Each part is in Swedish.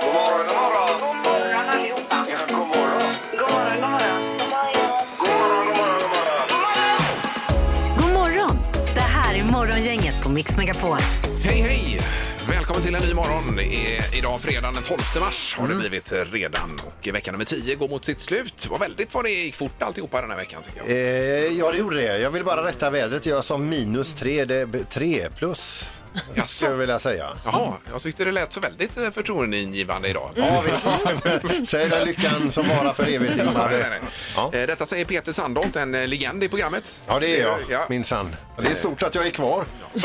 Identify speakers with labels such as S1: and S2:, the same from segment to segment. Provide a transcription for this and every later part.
S1: God morgon, god morgon.
S2: God morgon allihopa.
S1: Ja, god morgon.
S2: God morgon, god morgon.
S1: God morgon, god morgon,
S3: God
S1: god morgon.
S3: morgon! Det här är Morgongänget på Mix Megapol.
S4: Hej, hej! Välkommen till en ny morgon. Det är idag fredag den 12 mars har det blivit redan. Och vecka nummer 10 går mot sitt slut. Vad väldigt vad det gick fort alltihopa den här veckan tycker jag.
S5: Eh, ja, det gjorde det. Jag vill bara rätta vädret. Jag sa minus tre, det är tre plus. Skulle jag
S4: Jaså?
S5: vilja säga.
S4: Jaha, jag tyckte det lät så väldigt eh, förtroendeingivande idag.
S5: Mm. Ja, visst. Säg den lyckan som varar för evigt,
S4: Ja,
S5: Ingmar.
S4: nej, nej. Eh, Detta säger Peter Sandholt, en eh, legend i programmet.
S5: Ja, det är
S4: Ja.
S5: jag, minsann. Det är stort att jag är kvar.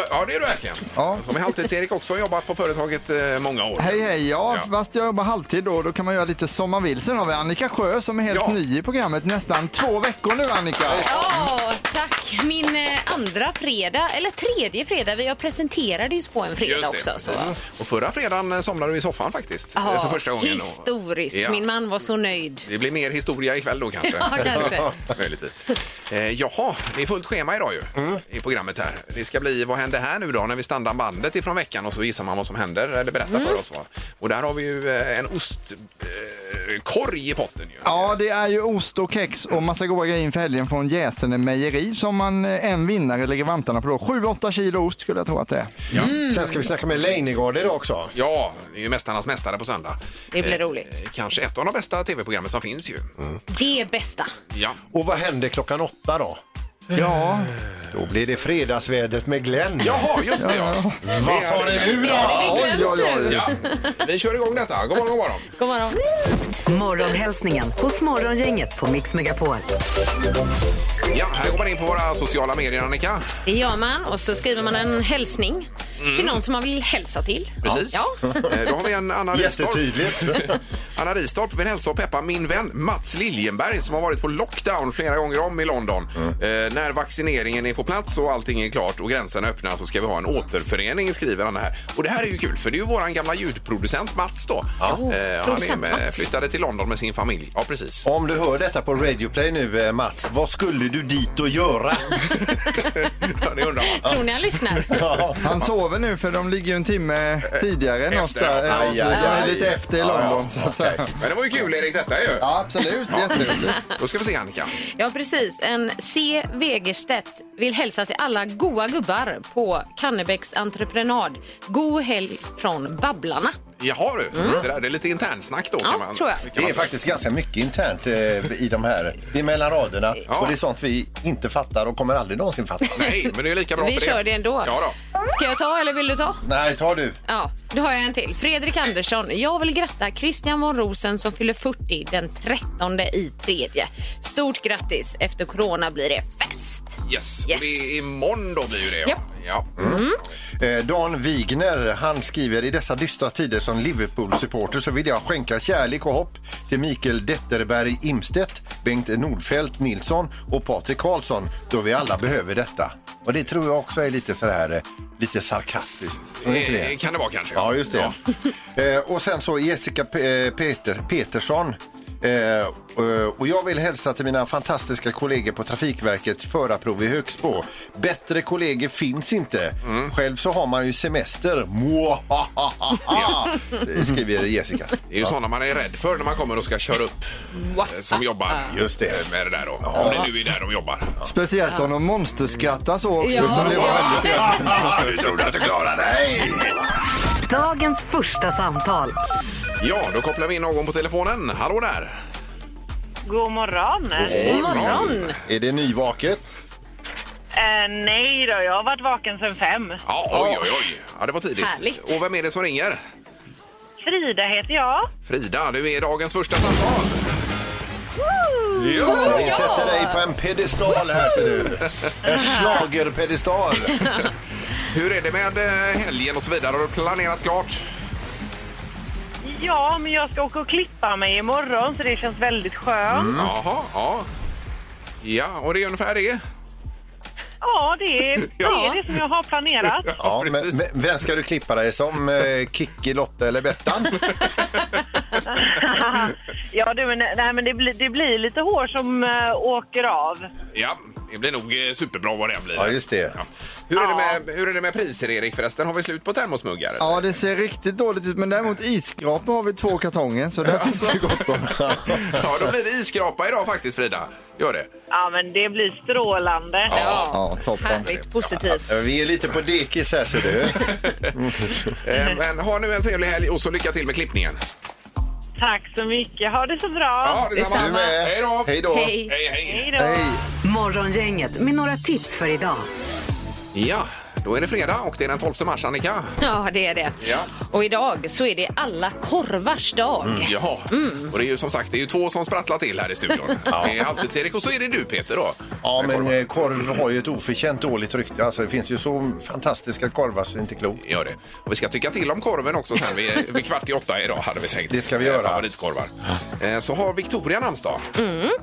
S4: Ja, det är du verkligen.
S6: Ja.
S4: Som är halvtids-Erik också har jobbat på företaget eh, många år.
S6: Hej hej, ja,
S4: Ja.
S6: fast jag jobbar halvtid då, då kan man göra lite som man vill. Sen har vi Annika Sjö som är helt
S4: Ja.
S6: ny i programmet, nästan två veckor nu Annika.
S7: Ja, tack. Min eh, andra fredag, eller tredje fredag. Jag presenterades på en fredag
S4: Just det,
S7: också. Så.
S4: precis. Och förra fredagen eh, somnade du i soffan faktiskt. eh,
S7: Ja,
S4: för första gången. Och-
S7: Historiskt.
S4: Ja.
S7: Min man var så nöjd.
S4: Det blir mer historia ikväll då kanske.
S7: Ja, kanske.
S4: Möjligtvis. Eh, jaha, det är fullt schema idag ju
S5: Mm.
S4: i programmet här. Det ska bli Vad händer här nu då när vi standar bandet ifrån veckan och så gissar man vad som händer eller berättar
S7: Mm.
S4: för oss. Va? Och där har vi ju eh, en ostkorg eh, korg i potten ju.
S6: Ja, det är ju ost och kex och massa goda grejer inför helgen från Jäsene mejeri som man eh, en vinnare lägger vantarna på då. 7-8 kilo ost skulle jag tro att det är.
S7: Mm.
S5: Sen ska vi snacka med Leijnegard idag också.
S4: Ja, det är ju Mästarnas mästare på söndag. Eh,
S7: Det blir roligt.
S4: Kanske ett av de bästa tv-programmen som finns ju.
S5: Mm.
S7: Det är bästa.
S4: Ja.
S5: Och vad händer klockan åtta då?
S6: Ja,
S5: Då blir det fredagsvädret med Glenn.
S4: Jaha, just det ja.
S5: Vad sa ni nu då?
S6: oj oj oj.
S4: ja. Vi kör igång detta. God morgon, god morgon.
S7: God morgon.
S3: Morgonhälsningen hos Morgongänget på Mix Megapol.
S4: Ja, här går man in på våra sociala medier Annika.
S7: Det gör man och så skriver man en hälsning till någon som man vill hälsa till.
S4: Mm. Precis.
S7: Ja.
S4: Eh, Då har vi en Anna Ristorp.
S5: Jättetydligt.
S4: Anna Ristorp vill hälsa och peppa min vän Mats Liljenberg som har varit på lockdown flera gånger om i London.
S6: Mm.
S4: Eh, när vaccineringen är på plats och allting är klart och gränserna öppnar så ska vi ha en återförening skriver Anna här. Och det här är ju kul för det är ju våran gamla ljudproducent Mats då. Eh, han är
S7: producent
S4: med,
S7: Mats.
S4: flyttade till London med sin familj. Ja, precis.
S5: Om du hör detta på Radioplay nu, eh, Mats, vad skulle du dit och göra?
S4: Ja, det undrar man.
S7: Tror ni han lyssnar?
S6: Han sover nu för de ligger ju en timme tidigare
S4: Efter,
S6: någonstans.
S4: ja.
S6: Ja, så
S5: Aj,
S6: de
S5: aj,
S6: är
S5: aj.
S6: lite efter i
S5: Ja, ja.
S6: London så att säga.
S4: Men det var ju kul Erik detta ju.
S6: Ja, absolut. Jätteroligt.
S4: Då ska vi se Annika.
S7: Ja, precis. En C. Wegerstedt vill hälsa till alla goa gubbar på Kannebäcks entreprenad. God helg från Babblarna.
S4: Jaha du,
S6: Mm.
S4: så där, det är lite internsnack då.
S7: Ja,
S4: kan man,
S7: tror jag.
S4: kan
S5: Det
S4: man-
S5: är faktiskt ganska mycket internt eh, i de här. Det är mellan raderna
S4: Ja.
S5: och det är sånt vi inte fattar och kommer aldrig någonsin fatta.
S4: Nej, men det är lika bra
S7: Vi
S4: för
S7: kör det ändå.
S4: Ja, då.
S7: Ska jag ta eller vill du ta?
S5: Nej, ta du.
S7: Ja, då har jag en till. Fredrik Andersson. Jag vill gratta Christian von Rosen som fyller 40 den 13 i tredje. Stort grattis! Efter corona blir det fest.
S4: Yes.
S7: Yes.
S4: Och det är imorgon då blir ju det. Ja.
S7: Japp.
S4: Ja.
S5: Eh, Dan Wigner, han skriver i dessa dystra tider som Liverpool-supporter så vill jag skänka kärlek och hopp till Mikael Detterberg Imstedt, Bengt Nordfeldt Nilsson och Patrik Karlsson då vi alla behöver detta. Och det tror jag också är lite så här, eh, lite sarkastiskt. Tror ni inte
S4: Eh, Kan det vara kanske.
S5: Ja, just det. Eh, och sen så Jessica P- eh, Peter, Petersson. Eh, eh, och jag vill hälsa till mina fantastiska kollegor på Trafikverket förarprov i Högsbo. Bättre kollegor finns inte.
S4: Mm.
S5: Själv så har man ju semester. Mwahahaha, skriver Jessica.
S4: Det är ju sådana man är rädd för när man kommer och ska köra upp. eh, Som jobbar
S5: Just det.
S4: med det där då. Om det nu är där de jobbar.
S6: Speciellt om de monsterskrattar så också.
S7: Ja.
S6: Som det var väldigt
S4: du trodde att du klarade dig!
S3: Dagens första samtal.
S4: Ja, då kopplar vi in någon på telefonen. Hallå där!
S2: God morgon.
S7: God morgon!
S5: Är det nyvaket?
S2: Eh, nej då, jag har varit vaken sedan fem.
S4: Ja, oj, oj, oj. Ja, det var tidigt.
S7: Härligt.
S4: Och vem är det som ringer?
S2: Frida heter jag.
S4: Frida, du är dagens första samtal.
S5: Så vi sätter dig på en pedestal här ser du. En schlagerpedestal.
S4: Hur är det med eh, helgen och så vidare? Har du planerat klart?
S2: Ja, men jag ska åka och klippa mig imorgon så det känns väldigt skönt.
S5: Mm.
S4: Mm, Jaha, ja. Ja, och det är ungefär det.
S2: Ja, det är, det
S7: Ja.
S2: är det som jag har planerat.
S5: Ja, men,
S4: precis.
S5: men vem ska du klippa dig som? Eh, Kikki, Lotta eller Bettan?
S2: ja, du, men, nej, men det, blir- det blir lite hår som eh, åker av.
S4: Ja, Det blir nog eh, superbra vad det än blir.
S5: Ja, just det.
S4: Hur, är det med, hur är det med priser, Erik? Förresten, har vi slut på termosmuggar? eller?
S6: Ja, det ser riktigt dåligt ut, men däremot isskrapor har vi två kartonger, så där finns det gott om.
S4: ja, då blir det iskrapa idag faktiskt, Frida. Gör det.
S2: Ja, men det blir strålande.
S6: Ja, toppen.
S7: Härligt positivt.
S5: Eh, Vi är lite på dekis här ser du.
S4: Eh, Men ha nu en trevlig helg och så lycka till med klippningen.
S2: Tack så mycket. Ha det så bra.
S5: Du med.
S4: Hej då!
S5: Hej då.
S7: Hej.
S4: Hej, hej.
S2: Hej då.
S6: Hej.
S3: Morgongänget med några tips för idag.
S4: Ja, då är det fredag och det är den 12 mars, Annika.
S7: Ja, det är det.
S4: Ja.
S7: Och idag så är det alla korvars dag.
S4: Mm. Jaha,
S2: Mm.
S4: och det är ju som sagt det är ju två som sprattlar till här i studion. Det är alltid Erik och så är det du Peter då.
S5: Ja, men eh, korv har ju ett oförtjänt dåligt rykte. Alltså, det finns ju så fantastiska korvar så det är inte klokt.
S4: Gör det. Och vi ska tycka till om korven också sen vid, vid kvart i åtta idag hade vi tänkt.
S5: Det ska vi
S4: Eh,
S5: göra.
S4: Favoritkorvar. Eh, Så har Victoria namnsdag.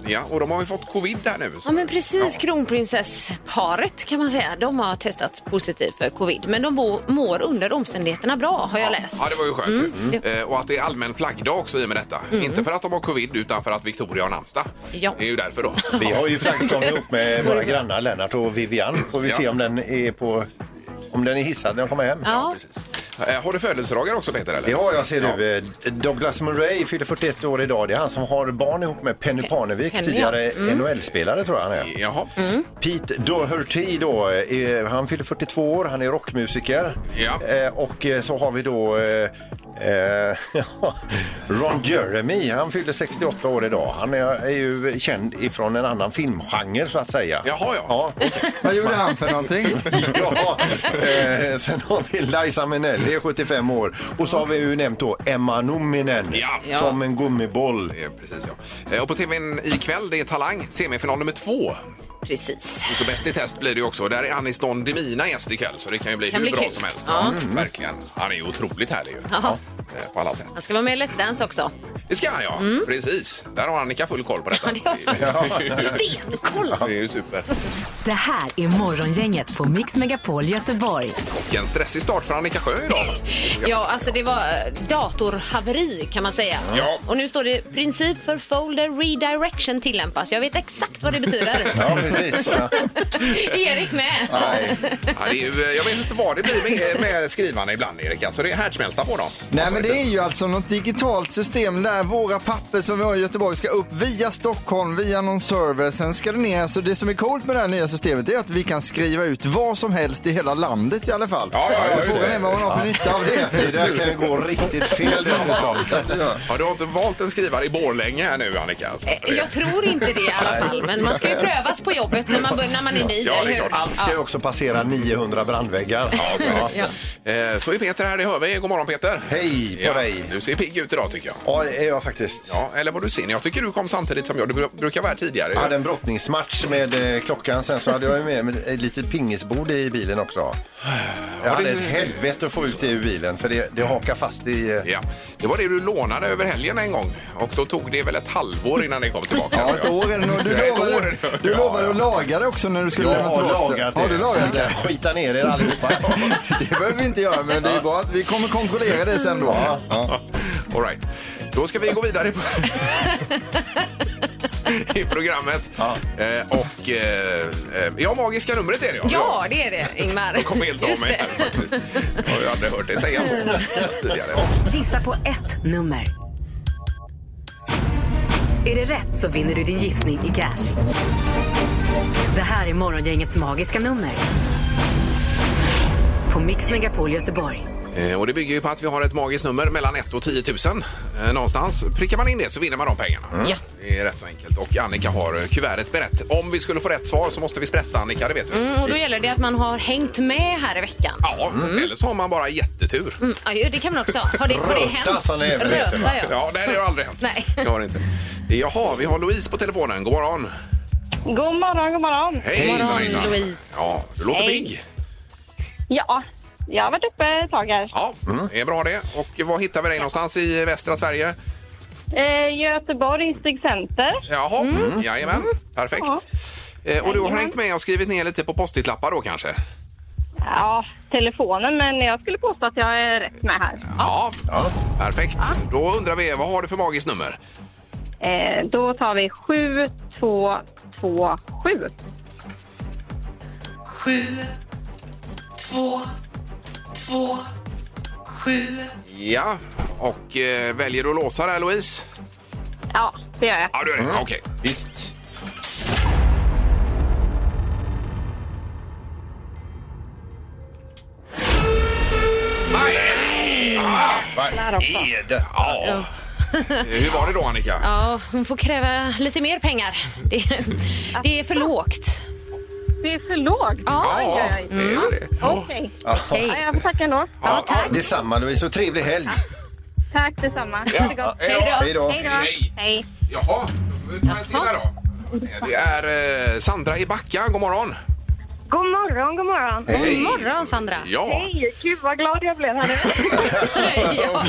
S4: Ja, och de har ju fått covid där nu.
S7: Mm. Ja, men precis. Kronprinsessparet kan man säga. De har testat positivt för covid, men de bo- mår under omständigheterna bra har jag läst.
S4: Ja, det var ju
S7: Mm.
S4: skönt. ju. Eh, Och att det är allmän flaggdag också i och med detta. Inte för att de har covid utan för att Victoria har namnsdag.
S7: Ja.
S4: Det är ju därför då.
S5: Vi har ju flaggstång ihop med våra grannar Lennart och Vivian. Får vi
S4: Ja.
S5: se om den är på... Om den är hissad när jag kommer hem.
S7: Ja.
S4: Precis. Eh, Har du födelsedagar också Peter? Eller?
S5: Det har jag ser du. Eh, Douglas Murray fyller 41 år idag. Det är han som har barn ihop med Penny Parnevik,
S7: Penny,
S5: tidigare NHL-spelare tror jag han är.
S4: Jaha.
S5: Pete Doherty då, eh, han fyller 42 år, han är rockmusiker.
S4: Ja.
S5: Eh, och eh, så har vi då eh, eh, Ron Jeremy, han fyller 68 år idag. Han är, är ju känd ifrån en annan filmgenre så att säga.
S4: Jaha, ja.
S5: ja
S6: Vad gjorde han för någonting?
S5: ja, eh, sen har vi Liza Minnelli, 75 år. Och så har vi ju nämnt då Emma Nominen
S4: Ja.
S7: Ja.
S5: som en gummiboll.
S4: Eh, Precis, ja. Eh, Och på tvn ikväll, det är Talang, semifinal nummer två.
S7: Precis.
S4: Och så Bäst i test blir det ju också. Där är Anis Don Demina gäst ikväll, så det kan ju bli
S7: Kan
S4: hur
S7: bli
S4: bra
S7: kul.
S4: som helst.
S7: Ja.
S4: Mm, verkligen. Han är ju otroligt härlig ju.
S7: Ja.
S4: Eh, På alla sätt.
S7: Han ska vara med i Let's Dance också.
S4: Det ska han, ja. Precis. Där har Annika full koll på detta.
S7: Mm. Ja, det Stenkoll!
S4: Det är ju super.
S3: Det här är Morgongänget på Mix Megapol Göteborg.
S4: Och en stressig start för Annika Sjö idag.
S7: Ja, alltså det var eh, datorhaveri kan man säga.
S4: Ja.
S7: Och nu står det princip för folder redirection tillämpas. Jag vet exakt vad det betyder.
S5: Ja, precis. Ja.
S7: Erik med.
S5: Nej.
S4: Ja, det är ju, eh, jag vet inte vad det blir med, med skrivarna ibland, Erik. Alltså, det är härdsmälta på dem.
S6: Nej men det är ju alltså något digitalt system där våra papper som vi har i Göteborg ska upp via Stockholm, via någon server, sen ska det ner. Så det som är coolt med det här nya systemet är att vi kan skriva ut vad som helst i hela landet i alla fall.
S4: Ja, ja, ja,
S6: Och Frågan
S4: just det.
S6: är vad man har för nytta av
S5: Det
S6: det.
S5: där kan ju gå riktigt fel dessutom.
S4: Ja, du har inte valt en skrivare i Borlänge här nu, Annika? alltså.
S7: Eh, Jag tror inte det i alla fall, men man ska ju prövas på jobbet när man, bör- när man är ny.
S4: Ja, det är
S7: eller hur?
S4: klart.
S5: Allt ska ju också passera 900 brandväggar. Ja.
S4: Eh, Så är Peter här, det hör vi. God morgon Peter!
S5: Hej på dig.
S4: Du ser pigg ut idag tycker jag.
S5: Ja, det är jag faktiskt.
S4: Ja, eller vad du ser. Jag tycker du kom samtidigt som jag. Du bru- brukar vara här tidigare.
S5: Jag hade en brottningsmatch med eh, klockan, sen så hade jag ju med mig ett litet pingisbord i bilen också. Jag hade ett helvete att få ut det ur bilen för det, det hakar fast i... eh,
S4: Ja. Det var det du lånade över helgen en gång. Och då tog det väl ett halvår innan det kom tillbaka.
S6: Ja, ett år eller något. Du
S4: Ja, ett år
S6: lovade,
S4: är det.
S6: du lovade att laga det också när du skulle
S5: Jag
S6: lämna
S5: har
S6: tillbaka
S5: lagat det.
S6: Har du lagat
S5: Ni
S6: det?
S5: kan Skita ner er allihopa.
S6: Det behöver vi inte göra, men det är bra att vi kommer kontrollera det sen då.
S4: Ja. All right. Då ska vi gå vidare i, i programmet. Eh, och eh, eh, ja, magiska numret är det
S7: Ja, det är det, Ingmar.
S4: Jag kom helt av
S7: Just
S4: mig här
S7: det.
S4: faktiskt. Jag har ju aldrig hört dig säga så tidigare.
S3: Gissa på ett nummer. Är det rätt så vinner du din gissning i cash. Det här är Morgongängets magiska nummer. På Mix Megapol Göteborg.
S4: Eh, Och det bygger ju på att vi har ett magiskt nummer mellan 1 och 10 000. Eh, Någonstans. Prickar man in det så vinner man de pengarna.
S7: Mm. Ja.
S4: Det är rätt så enkelt. Och Annika har eh, kuvertet berett. Om vi skulle få rätt svar så måste vi sprätta Annika, det vet du.
S7: Mm, och då Mm. gäller det att man har hängt med här i veckan.
S4: Ja, eller så har man bara jättetur.
S7: Mm, ja, ju, det kan man också ha. Har det, har det
S5: Röta,
S7: hänt?
S5: som det även heter, va?
S7: Röta, ja.
S4: Ja, nej, det har aldrig hänt.
S7: Nej.
S4: Det har det inte. Jaha, vi har Louise på telefonen. God morgon.
S2: God morgon, god morgon.
S4: Hej,
S7: God morgon,
S4: hejsan, hejsan.
S7: Louise.
S4: Ja, du låter
S2: Hej.
S4: pigg.
S2: Ja, jag har varit uppe ett tag här.
S4: Ja, det är bra det. Och var hittar vi dig någonstans i västra Sverige?
S2: Eh, Göteborg, Stig Center.
S4: Jaha, mm. jajamän. Perfekt.
S2: Ja.
S4: Eh, Och du har
S2: Jajamän.
S4: hängt med och skrivit ner lite på postitlappar då kanske?
S2: Ja, telefonen, men jag skulle påstå att jag är rätt med här.
S4: Ja, perfekt. Då undrar vi, vad har du för magiskt nummer?
S2: Eh, då tar vi 7227.
S4: Ja, och eh, väljer du att låsa där Louise?
S2: Ja, det gör jag. Mm.
S4: Ja, du är det. Okej.
S5: Visst.
S4: Ah, Vad är det? Ja. Eh, Hur var det då Annika?
S7: Ja, hon får kräva lite mer pengar. Det, det är för lågt.
S2: Det är för lågt.
S7: Ja.
S2: Aj, aj, aj.
S4: det är väl det.
S2: Okej.
S7: Hej.
S2: Ja, jag får tacka ändå.
S4: Ja, ja.
S5: Detsamma Louise och trevlig helg.
S2: Tack detsamma. Ha det gott.
S4: Hej då.
S5: Hej då.
S2: Hej
S4: Hej.
S2: då. Hej.
S4: Jaha, då får vi ta en till här då. Det är eh, Sandra i Backa. God morgon.
S2: God morgon, god morgon.
S7: God morgon, Sandra.
S4: Ja.
S2: Hej, gud vad glad jag blev här nu.
S7: Ja.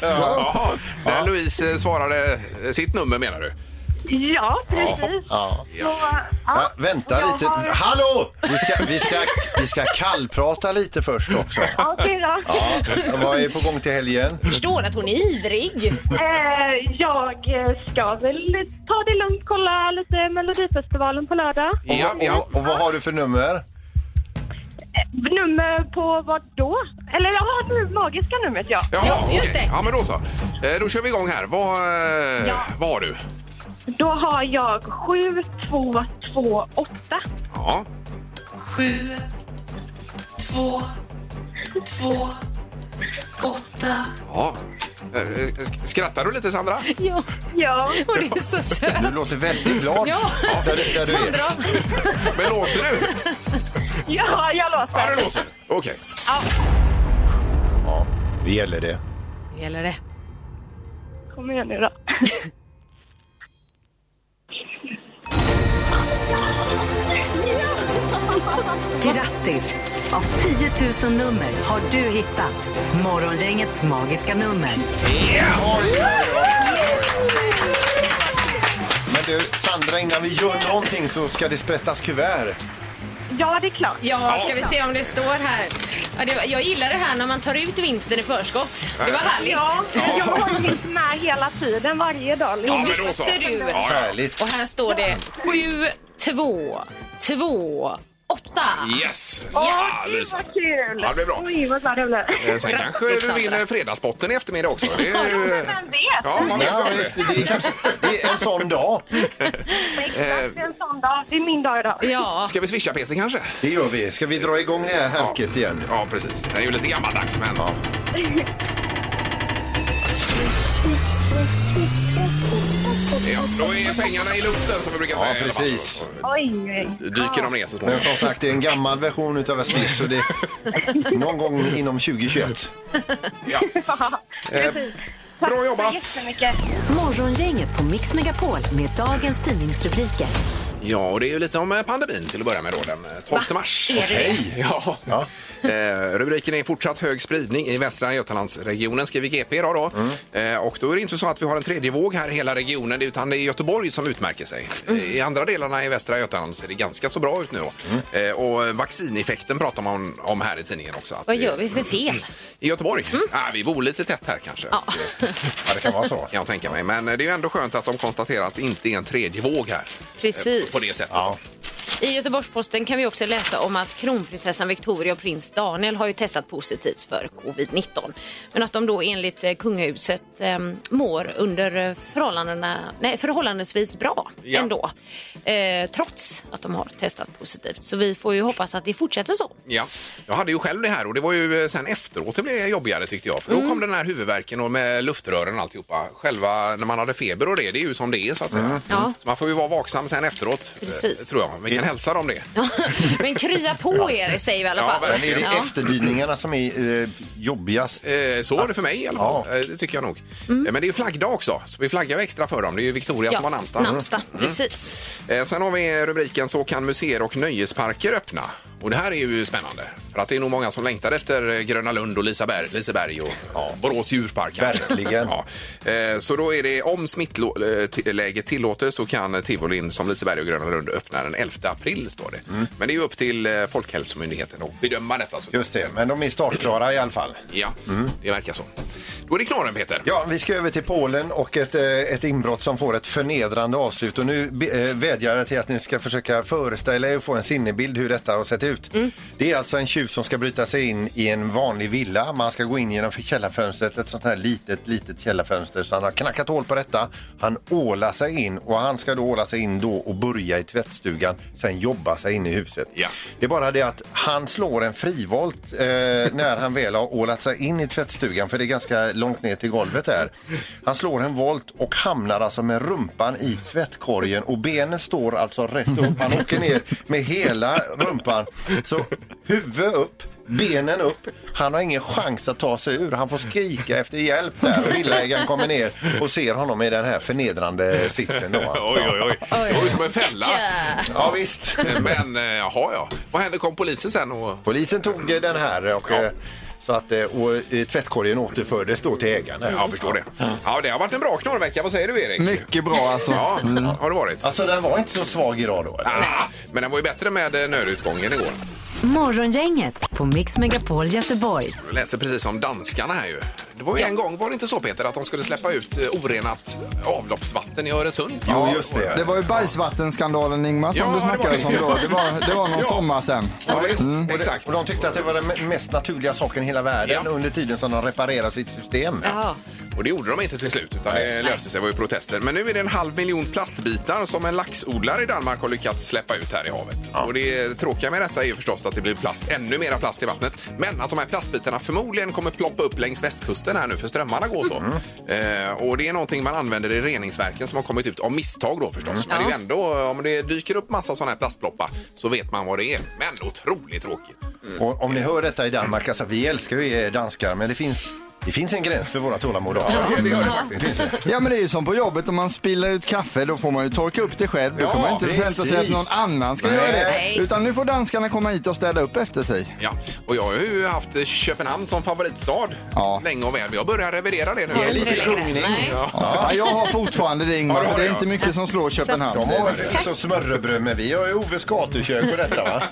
S4: Jaha. Där Louise eh, svarade eh, sitt nummer menar du?
S2: Ja, precis.
S5: Ja.
S2: Så, ja.
S5: Ja, vänta
S2: Jag
S5: lite.
S2: har-
S5: Hallå! Vi ska, vi, ska, vi ska kallprata lite först också.
S2: Ja, Okej då.
S5: Ja, vad är på gång till helgen?
S7: Förstår att hon är ivrig.
S2: Eh, jag ska väl ta det lugnt, kolla lite Melodifestivalen på lördag.
S5: Och,
S4: Ja,
S5: vad-
S4: ja.
S5: och, och vad har du för nummer?
S2: Eh, Nummer på vad då? Eller ja, nu magiska numret ja.
S4: Jaha,
S7: Ja, just
S4: okej.
S7: det.
S4: Ja, men då så. Eh, Då kör vi igång här. Vad, eh,
S2: Ja.
S4: vad har du?
S2: Då har jag 7228.
S4: Ja. Ja. Eh, eh, sk- Skrattar du lite, Sandra?
S7: Ja,
S2: Ja,
S7: och det är så
S5: Du
S7: söt.
S5: låter väldigt glad.
S7: Ja.
S5: Där, där du är.
S7: Sandra.
S4: Men låser du?
S2: ja jag
S4: Ja, du
S2: låter.
S4: låser. Okej.
S5: Ja, det gäller det.
S7: Nu gäller det.
S2: Kom igen nu då.
S3: Grattis! Av 10 000 nummer har du hittat Morgongängets magiska nummer.
S5: Men du, Sandra, innan vi gör någonting så ska det sprättas kuvert.
S2: Ja, det är klart.
S7: Ja, ska vi se om det står här. Ja, det var, jag gillar det här när man tar ut vinsten i förskott. Det var härligt.
S2: Ja, jag har mitt med hela tiden, varje dag.
S4: Ja, men då så.
S7: Visste du?
S4: Ja, ja.
S5: Härligt.
S7: Och här står det 7, 2, 2, 8.
S4: Yes!
S7: Ja,
S2: Gud
S4: Lisa.
S2: vad kul!
S4: Ja, det blir bra.
S2: Oj, vad glad jag blev.
S4: Eh, Sen kanske
S7: Grattis,
S4: du vinner
S7: Sandra.
S4: Fredagsbotten i eftermiddag också. Det är ju...
S2: Vem vet?
S4: Ja, man vet ju
S5: Ja,
S4: aldrig.
S5: visst, det, är kanske, det är en sån dag.
S4: eh,
S2: Exakt, det är en sån dag. Det är min dag idag.
S7: Ja,
S4: Ska vi swisha Peter kanske?
S5: Det gör vi. Ska vi dra igång det här härket igen?
S4: Ja, precis. Den är ju lite gammaldags, men... Ja. då är pengarna i luften som vi brukar
S5: Ja,
S4: säga. i alla fall.
S5: precis.
S2: Oj, oj.
S4: Dyker de ner så
S5: Men
S4: småningom.
S5: som sagt, det är en gammal version utav Swish. Så det någon gång inom Eh, 2021.
S4: Ja.
S2: Precis. Tack
S4: bra jobbat.
S2: så jättemycket.
S3: Morgongänget på Mix Megapol med dagens tidningsrubriker.
S4: ja, och det är ju lite om eh, pandemin till att börja med då, den eh, 12 mars.
S7: Är det det?
S4: Okej. Ja.
S5: Ja.
S4: Eh, rubriken är fortsatt hög spridning i Västra Götalandsregionen, skriver GP idag då.
S5: Mm.
S4: Eh, och då är det inte så att vi har en tredje våg här i hela regionen, utan det är Göteborg som utmärker sig.
S7: Mm.
S4: I andra delarna i Västra Götaland ser det ganska så bra ut nu då.
S5: Mm.
S4: Eh, och vaccineffekten pratar man om här i tidningen också. Att
S7: vad
S4: det-
S7: gör vi för fel?
S4: I Göteborg? Ah, vi bor lite tätt här kanske.
S7: Mm. Ja.
S5: Ja, det kan vara så.
S4: Kan jag tänka mig. Men eh, det är ju ändå skönt att de konstaterar att det inte är en tredje våg här. eh,
S7: Precis.
S4: På det sättet.
S5: Ja.
S7: I Göteborgs-Posten kan vi också läsa om att kronprinsessan Victoria och prins Daniel har ju testat positivt för covid-19. Men att de då enligt eh, kungahuset eh, mår under eh, förhållandena, nej, förhållandevis bra
S4: Ja.
S7: ändå. Eh, trots att de har testat positivt. Så vi får ju hoppas att det fortsätter så.
S4: Ja, jag hade ju själv det här och det var ju eh, sen efteråt det blev jobbigare tyckte jag. För
S7: Mm.
S4: då kom den här huvudvärken och med luftrören och alltihopa. Själva när man hade feber och det, det är ju som det är så att säga.
S7: Mm. Ja.
S4: Så man får ju vara vaksam sen efteråt. eh,
S7: Precis.
S4: Tror jag. Vi kan hälsa dem det.
S7: Men krya på er säger vi i alla
S4: Ja,
S7: fall.
S5: Men är det
S4: verkligen.
S7: Ja.
S5: efterdyningarna som är eh, jobbigast?
S4: Eh, Så var det för mig i alla fall.
S5: Ja.
S4: Eh, Det tycker jag nog.
S7: Mm.
S4: Eh, Men det är ju flaggdag också, så vi flaggar ju extra för dem. Det är ju Victoria som har namnsdag. Mm.
S7: namnsdag.
S5: Mm.
S7: Precis.
S4: Eh, Sen har vi rubriken Så kan museer och nöjesparker öppna. Och det här är ju spännande. För att det är nog många som längtar efter eh, Gröna Lund och Liseberg, Liseberg och ja, Borås djurpark. kanske.
S5: Verkligen.
S4: Ja. Eh, Så då är eh, det om smittläget tillåter så kan tivolin som Liseberg och Gröna Lund öppna den 11 april står det.
S5: Mm.
S4: Men det är ju upp till eh, Folkhälsomyndigheten att bedöma detta. Så.
S5: Just det, men de är startklara i alla fall.
S4: Ja,
S5: Mm.
S4: det verkar så. Då är det knorren Peter.
S5: Ja, vi ska över till Polen och ett, eh, ett inbrott som får ett förnedrande avslut. Och nu be- eh, vädjar jag till att ni ska försöka föreställa er och få en sinnebild hur detta har sett ut. Det är alltså en tjuv som ska bryta sig in i en vanlig villa. Man ska gå in genom för- källarfönstret, ett sånt här litet, litet källarfönster. Så han har knackat hål på detta. Han ålar sig in och han ska då åla sig in då och börja i tvättstugan, sen jobba sig in i huset.
S4: Ja.
S5: Det är bara det att han slår en frivolt eh, när han väl har ålat sig in i tvättstugan för det är ganska långt ner till golvet där. Han slår en volt och hamnar alltså med rumpan i tvättkorgen och benet står alltså rätt upp. Han åker ner med hela rumpan. Så huvud upp, benen upp. Han har ingen chans att ta sig ur. Han får skrika efter hjälp där och villaägaren kommer ner och ser honom i den här förnedrande sitsen då.
S4: Oj, oj, oj. Det var ju som en fälla.
S5: Ja visst.
S4: Men eh, jaha, ja. Vad hände? Kom polisen sen och...
S5: Polisen tog eh, den här och,
S4: Ja.
S5: eh, så att, eh, och eh, tvättkorgen återfördes då till ägaren.
S4: Ja, jag förstår det. Ja, det har varit en bra knorrvecka. Vad säger du, Erik?
S6: Mycket bra alltså.
S4: Ja, har det varit.
S5: Alltså den var inte så svag idag då? eller?
S4: Ah, men den var ju bättre med eh, nödutgången igår.
S3: Morgongänget på Mix Megapol Göteborg.
S4: Jag läser precis om danskarna här ju. Det var ju en gång, var det inte så Peter, att de skulle släppa ut eh, orenat avloppsvatten i Öresund?
S5: Jo, just det.
S6: Det var ju bajsvattenskandalen Ingmar
S4: Ja,
S6: som du
S4: det var
S6: snackade
S4: det.
S6: om då. Det var, det var någon
S4: Ja.
S6: sommar sen.
S4: Ja, visst.
S5: Mm. Och, det,
S4: Exakt.
S5: och de tyckte att det var den me- mest naturliga saken i hela världen
S4: Ja.
S5: under tiden som de reparerade sitt system.
S7: Ja.
S4: Och det gjorde de inte till slut, utan det löste sig. Det var ju protester. Men nu är det en halv miljon plastbitar som en laxodlare i Danmark har lyckats släppa ut här i havet. Och det tråkiga med detta är ju förstås att det blir plast, ännu mera plast i vattnet. Men att de här plastbitarna förmodligen kommer ploppa upp längs västkusten här nu, för strömmarna går så. Eh, och det är någonting man använder i reningsverken som har kommit ut av misstag då förstås. Men det är ju ändå, om det dyker upp massa sådana här plastploppar så vet man vad det är. Men otroligt tråkigt.
S5: Och om ni hör detta i Danmark, alltså vi älskar ju er danskar, men det finns, det finns en gräns för våra tålamod också.
S4: Det gör det faktiskt.
S6: Ja men det är ju som på jobbet om man spiller ut kaffe då får man ju torka upp det själv. Då
S5: Ja,
S6: kan man ju inte förvänta sig att
S5: precis.
S6: någon annan ska
S5: Nej.
S6: göra det.
S7: Nej.
S6: Utan nu får danskarna komma hit och städa upp efter sig.
S4: Ja, och jag har ju haft Köpenhamn som favoritstad
S6: Ja.
S4: länge och väl. Jag börjar revidera det nu.
S7: Har du inte
S5: lite
S7: längre?
S5: gungning.
S7: Nej.
S6: Ja, jag har fortfarande det Ingmar,
S4: Ja,
S6: för det är
S4: ja.
S6: inte mycket som slår Köpenhamn.
S5: De har väl förvisso smörrebröd, men vi har ju Oves gatukök på detta va?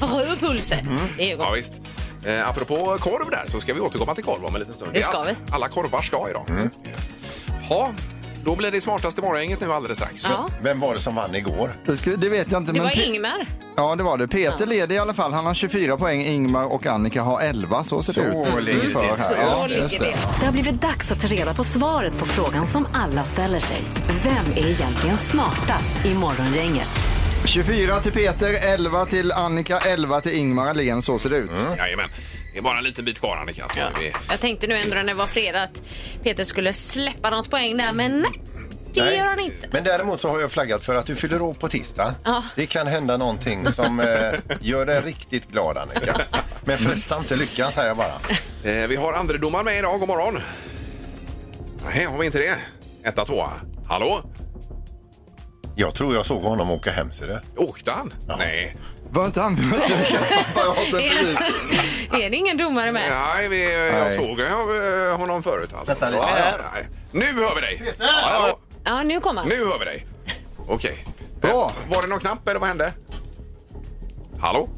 S7: Rör pulsen.
S4: Mm.
S7: Det är ju
S4: Ja,
S7: gott.
S4: visst. Eh, apropå korv där så ska vi återkomma till korv om en liten stund.
S7: Det ska
S4: är all-
S7: vi.
S4: Alla korvars dag idag. Ja, då blir det smartaste morgongänget nu alldeles strax.
S7: Ja.
S5: Vem var det som vann igår?
S6: Det ska- Det vet jag inte.
S7: Det
S6: men
S7: var
S4: Mm.
S6: Pe-
S7: Ingmar.
S6: Ja, det var det. Peter leder i alla fall. Han har 24 poäng. Ingmar och Annika har 11. Så ser det ut.
S5: Så ligger det.
S6: inför
S7: Så
S6: här. Ja, just
S7: ligger det.
S3: Det har blivit dags att ta reda på svaret på frågan som alla ställer sig. Vem är egentligen smartast i Morgongänget?
S6: 24 till Peter, 11 till Annika, 11 till Ingmar Ahlén. Så ser det ut.
S4: Jajamän. Det är bara en liten bit kvar Annika. Så
S7: Ja.
S4: är vi...
S7: Jag tänkte nu ändå när det var fredag att Peter skulle släppa något poäng där, men nej. Det gör han inte.
S5: Men däremot så har jag flaggat för att du fyller år på tisdag.
S7: Ja.
S5: Det kan hända någonting som eh, gör dig riktigt glad Annika. Men fresta inte lyckan säger jag bara.
S4: Eh, vi har andre domaren med idag. God morgon. Nej, har vi inte det? Etta, tvåa. Hallå?
S5: Jag tror jag såg honom åka hem ser du.
S4: Åkte han? Nej.
S6: Var inte han... var inte vilka appar jag har åt den precis?
S7: är det ingen domare med?
S4: Nej, vi, jag
S6: Nej.
S4: såg eh, honom förut. Alltså.
S5: Vänta lite.
S4: Ja, nej. Nu hör vi dig! Hallå?
S7: Ja, nu kommer han.
S4: Nu hör vi dig. Okej.
S6: Bra.
S4: Eh, Var det någon knapp eller vad hände? Hallå?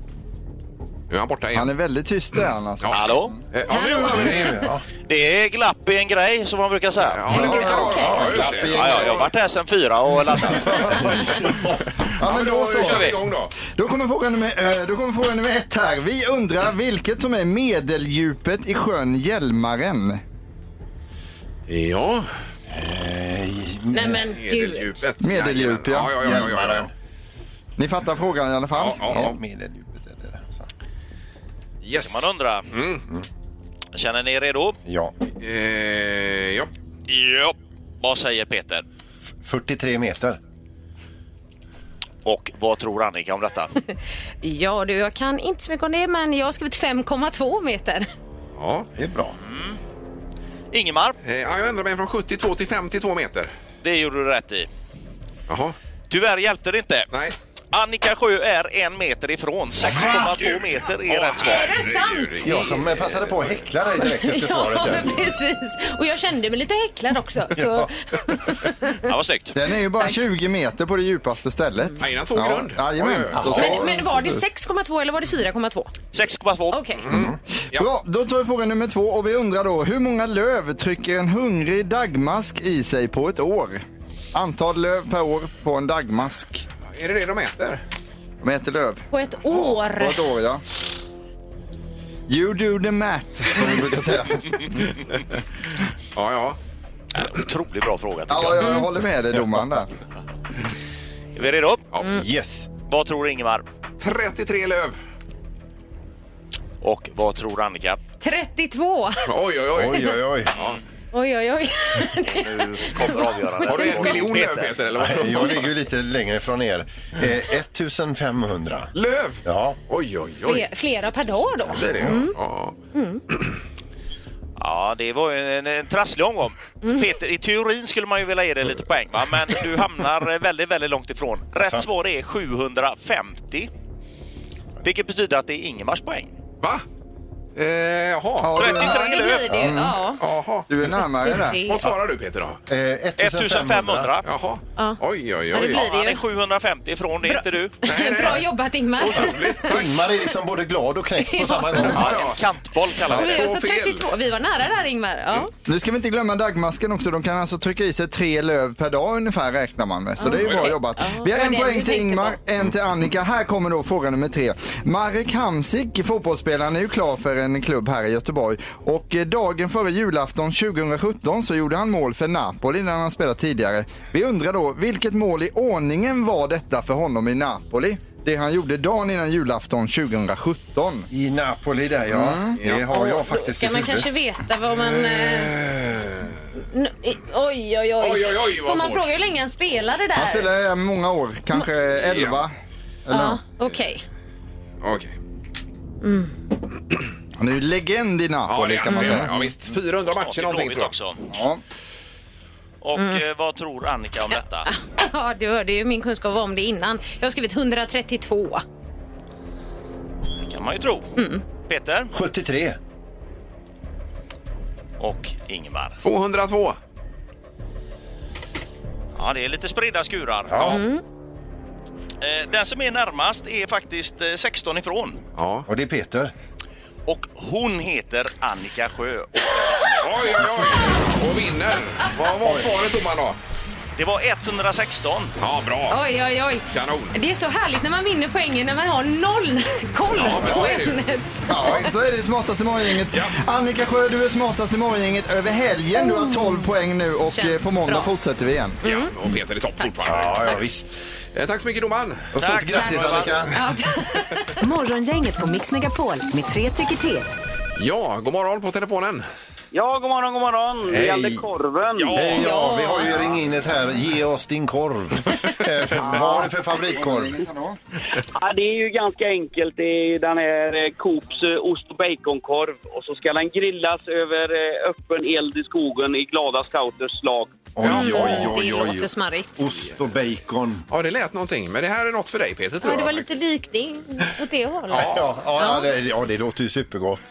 S4: Nu är han borta igen.
S6: Han är väldigt tyst där han alltså.
S4: Ja.
S8: Hallå?
S4: Eh, Ja, nu hör vi dig.
S5: Ja.
S8: Det är glapp i en grej som man brukar säga.
S4: Ja, det brukar det vara.
S7: Okej.
S4: Ja, just det.
S8: Ja, ja, jag har varit här sedan fyra och laddat.
S6: Ja, men då så.
S4: Då kör vi igång då.
S6: Då kommer fråga nummer, eh, då kommer fråga nummer ett här. Vi undrar vilket som är medeldjupet i sjön Hjälmaren. Eh,
S4: Ja,
S7: Nej, men gud.
S4: medeldjupet.
S6: Medeldjup, ja.
S4: Ja, ja, ja, ja, ja.
S6: Ni fattar frågan i alla fall?
S4: Ja, ja, ja.
S5: Medeldjupet är det. Så.
S4: Yes. Mm,
S8: Man undrar. Känner ni er redo?
S5: Ja,
S4: Eh, ja.
S8: Ja. Vad säger Peter?
S5: f- 43 meter.
S8: Och vad tror Annika om detta?
S7: Ja, du, jag kan inte så mycket om det, men jag har skrivit 5,2 meter.
S4: Ja.
S5: Det är bra.
S8: Ingemar,
S4: Eh, ja, jag ändrar mig från 72 till 52 meter.
S8: det gjorde du rätt i.
S4: Jaha.
S8: Tyvärr hjälpte det inte.
S4: Nej.
S8: Annika Sjö är en meter ifrån. 6,2 meter är rätt svar.
S7: Är det sant?
S5: Jag som eh, passade på att häckla dig direkt efter svaret.
S7: Ja,
S5: där.
S7: men precis. Och jag kände mig lite häcklad också. Så.
S8: Ja, vad snyggt.
S6: Den är ju bara 20 meter på det djupaste stället.
S4: Nej, den såg grund.
S6: Jajamän.
S4: Oj, oj, oj.
S6: Så-
S7: Men, men var det 6,2 eller var det 4,2?
S8: 6,2.
S7: Okej.
S4: Ja.
S6: Bra, då tar vi fråga nummer två och vi undrar då hur många löv trycker en hungrig dagmask i sig på ett år? Antal löv per år på en dagmask.
S4: Är det det de äter?
S6: De äter löv.
S7: På ett
S6: På
S7: år.
S6: ett år, ja. You do the math, som vi brukar säga.
S4: Ja, ja.
S8: Otroligt bra fråga tycker
S6: Ja,
S8: jag.
S6: jag, jag håller med dig domaren där.
S8: Är vi redo? Mm.
S5: Yes.
S8: Vad tror Ingemar?
S4: 33 löv.
S8: Och vad tror Annika?
S7: 32.
S4: Oj, oj, oj.
S5: Oj, oj, oj.
S7: Oj, oj, oj.
S8: Kommer avgörande.
S4: Har du en miljon löv, Peter? Eller vad?
S5: Jag ligger ju lite längre från er. Eh, 1500.
S4: Löv?
S5: Ja.
S4: Oj, oj, oj.
S7: Fler- Flera per dag då. Mm.
S4: Det är det.
S6: Mm.
S4: Ja.
S8: Ja, det var ju en, en trasslig omgång.
S6: Mm.
S8: Peter, i teorin skulle man ju vilja ge dig lite poäng, va? men du hamnar väldigt, väldigt långt ifrån. Rätt
S6: Alltså.
S8: svar är 750. Vilket betyder att det är Ingemars poäng.
S4: Va? Eh, jaha. Mm.
S6: Ja, du, är-
S8: 33
S7: Ja, det blir
S8: löv!
S7: det. Ja.
S4: Jaha.
S6: du är närmare där.
S7: Tre.
S4: Vad svarar du, Peter? Då?
S5: Eh, 1500.
S8: 1500.
S4: Jaha.
S7: Ja.
S4: Oj, oj,
S7: Ja, det
S4: oj.
S7: blir det.
S8: Han är 750 ifrån, det är inte du.
S7: Bra jobbat Ingmar.
S4: Otroligt. Tack.
S5: Ingmar är liksom både glad och knäckt på samma gång.
S8: Ja, en kantboll kallar vi
S7: Vi,
S8: det.
S7: är så
S4: fel.
S7: 32. vi var nära där Ingmar.
S4: Mm,
S7: Ja.
S6: Nu ska vi inte glömma dagmasken också. De kan alltså trycka i sig tre löv per dag ungefär räknar man med. Så det är ju bra jobbat. Vi har
S7: det var
S6: en
S7: det vi
S6: poäng till
S7: tänkte
S6: Ingmar, en till Annika. Här kommer då fråga nummer tre. Marek Hamsik, fotbollsspelaren, är ju klar för en klubb här i Göteborg. Och eh, dagen före julafton 2017 så gjorde han mål för Napoli när han spelat tidigare. Vi undrar då, vilket mål i ordningen var detta för honom i Napoli? Det han gjorde dagen innan julafton Mm. 2017.
S5: I Napoli där ja. Det har jag faktiskt i
S7: Ska man kanske
S5: huvudet.
S7: veta vad man... Eh... n- i- Oj, oj, oj.
S4: Oj, oj, oj, vad
S7: Får man
S4: svårt.
S7: fråga hur länge han spelade där?
S6: Han spelade där många år, kanske elva.
S7: Ja, okej.
S4: Okej.
S6: Mm. Han är ju legend i Napoli.
S4: Ja, det kan man säga.
S6: Mm.
S4: Ja, visst. 400 matcher någonting,
S8: Blåvitt
S4: tror jag.
S8: också.
S6: Ja.
S8: Och
S7: Mm.
S8: eh, vad tror Annika om detta?
S7: Ja, du hörde ju min kunskap om det innan. Jag har skrivit 132.
S8: Det kan man ju tro.
S7: Mm.
S8: Peter
S5: 73.
S8: och Ingemar.
S4: 202.
S8: Ja, det är lite spridda skurar.
S5: Ja.
S7: Mm.
S8: Eh, Den som är närmast är faktiskt eh, 16 ifrån.
S4: Ja.
S5: Och det är Peter.
S8: Och hon heter Annika Sjö. Och
S4: Oj, oj, oj. Och vinner. Vad var svaret, domaren, då?
S8: Det var 116.
S4: Ja, bra.
S7: Oj, oj, oj.
S4: Kanon.
S7: Det är så härligt när man vinner poängen när man har noll koll
S4: Ja, men så
S7: på
S4: är det ju.
S7: ämnet.
S6: Ja, så är det smartaste morgongänget. Annika Sjö, du är smartast i morgongänget över helgen. Du har 12 poäng nu och
S7: Oh. Känns
S6: eh, på måndag
S7: bra. Mm.
S6: fortsätter vi igen.
S4: Ja, och Peter är topp fortfarande.
S5: Ja, ja visst.
S4: Eh, Tack så mycket, domaren.
S5: Och stort
S8: Tack.
S5: grattis
S8: Tack.
S5: Annika.
S3: Morgongänget på Mix Megapol med tre tycker till.
S4: Ja, god morgon på telefonen.
S9: Ja, god morgon, god morgon.
S4: Hej.
S9: Det gällde korven.
S5: Hej, ja, vi har ju ringinnet här. Ge oss din korv. Eh, Vad har du för favoritkorv?
S9: Ja, det är ju ganska enkelt. Det är ju den här eh, Coops eh, ost och baconkorv. Och så ska den grillas över eh, öppen eld i skogen i glada scouters slag.
S5: Oj,
S7: Mm.
S5: oj,
S7: Det
S5: oj, oj.
S7: låter smarrigt.
S5: Ost och bacon.
S4: Ja, det lät någonting. Men det här är något för dig, Peter, tror
S7: Ja,
S4: jag.
S7: det var lite likt det, åt det hållet.
S5: Ja, ja, ja, det, ja, det låter ju supergott.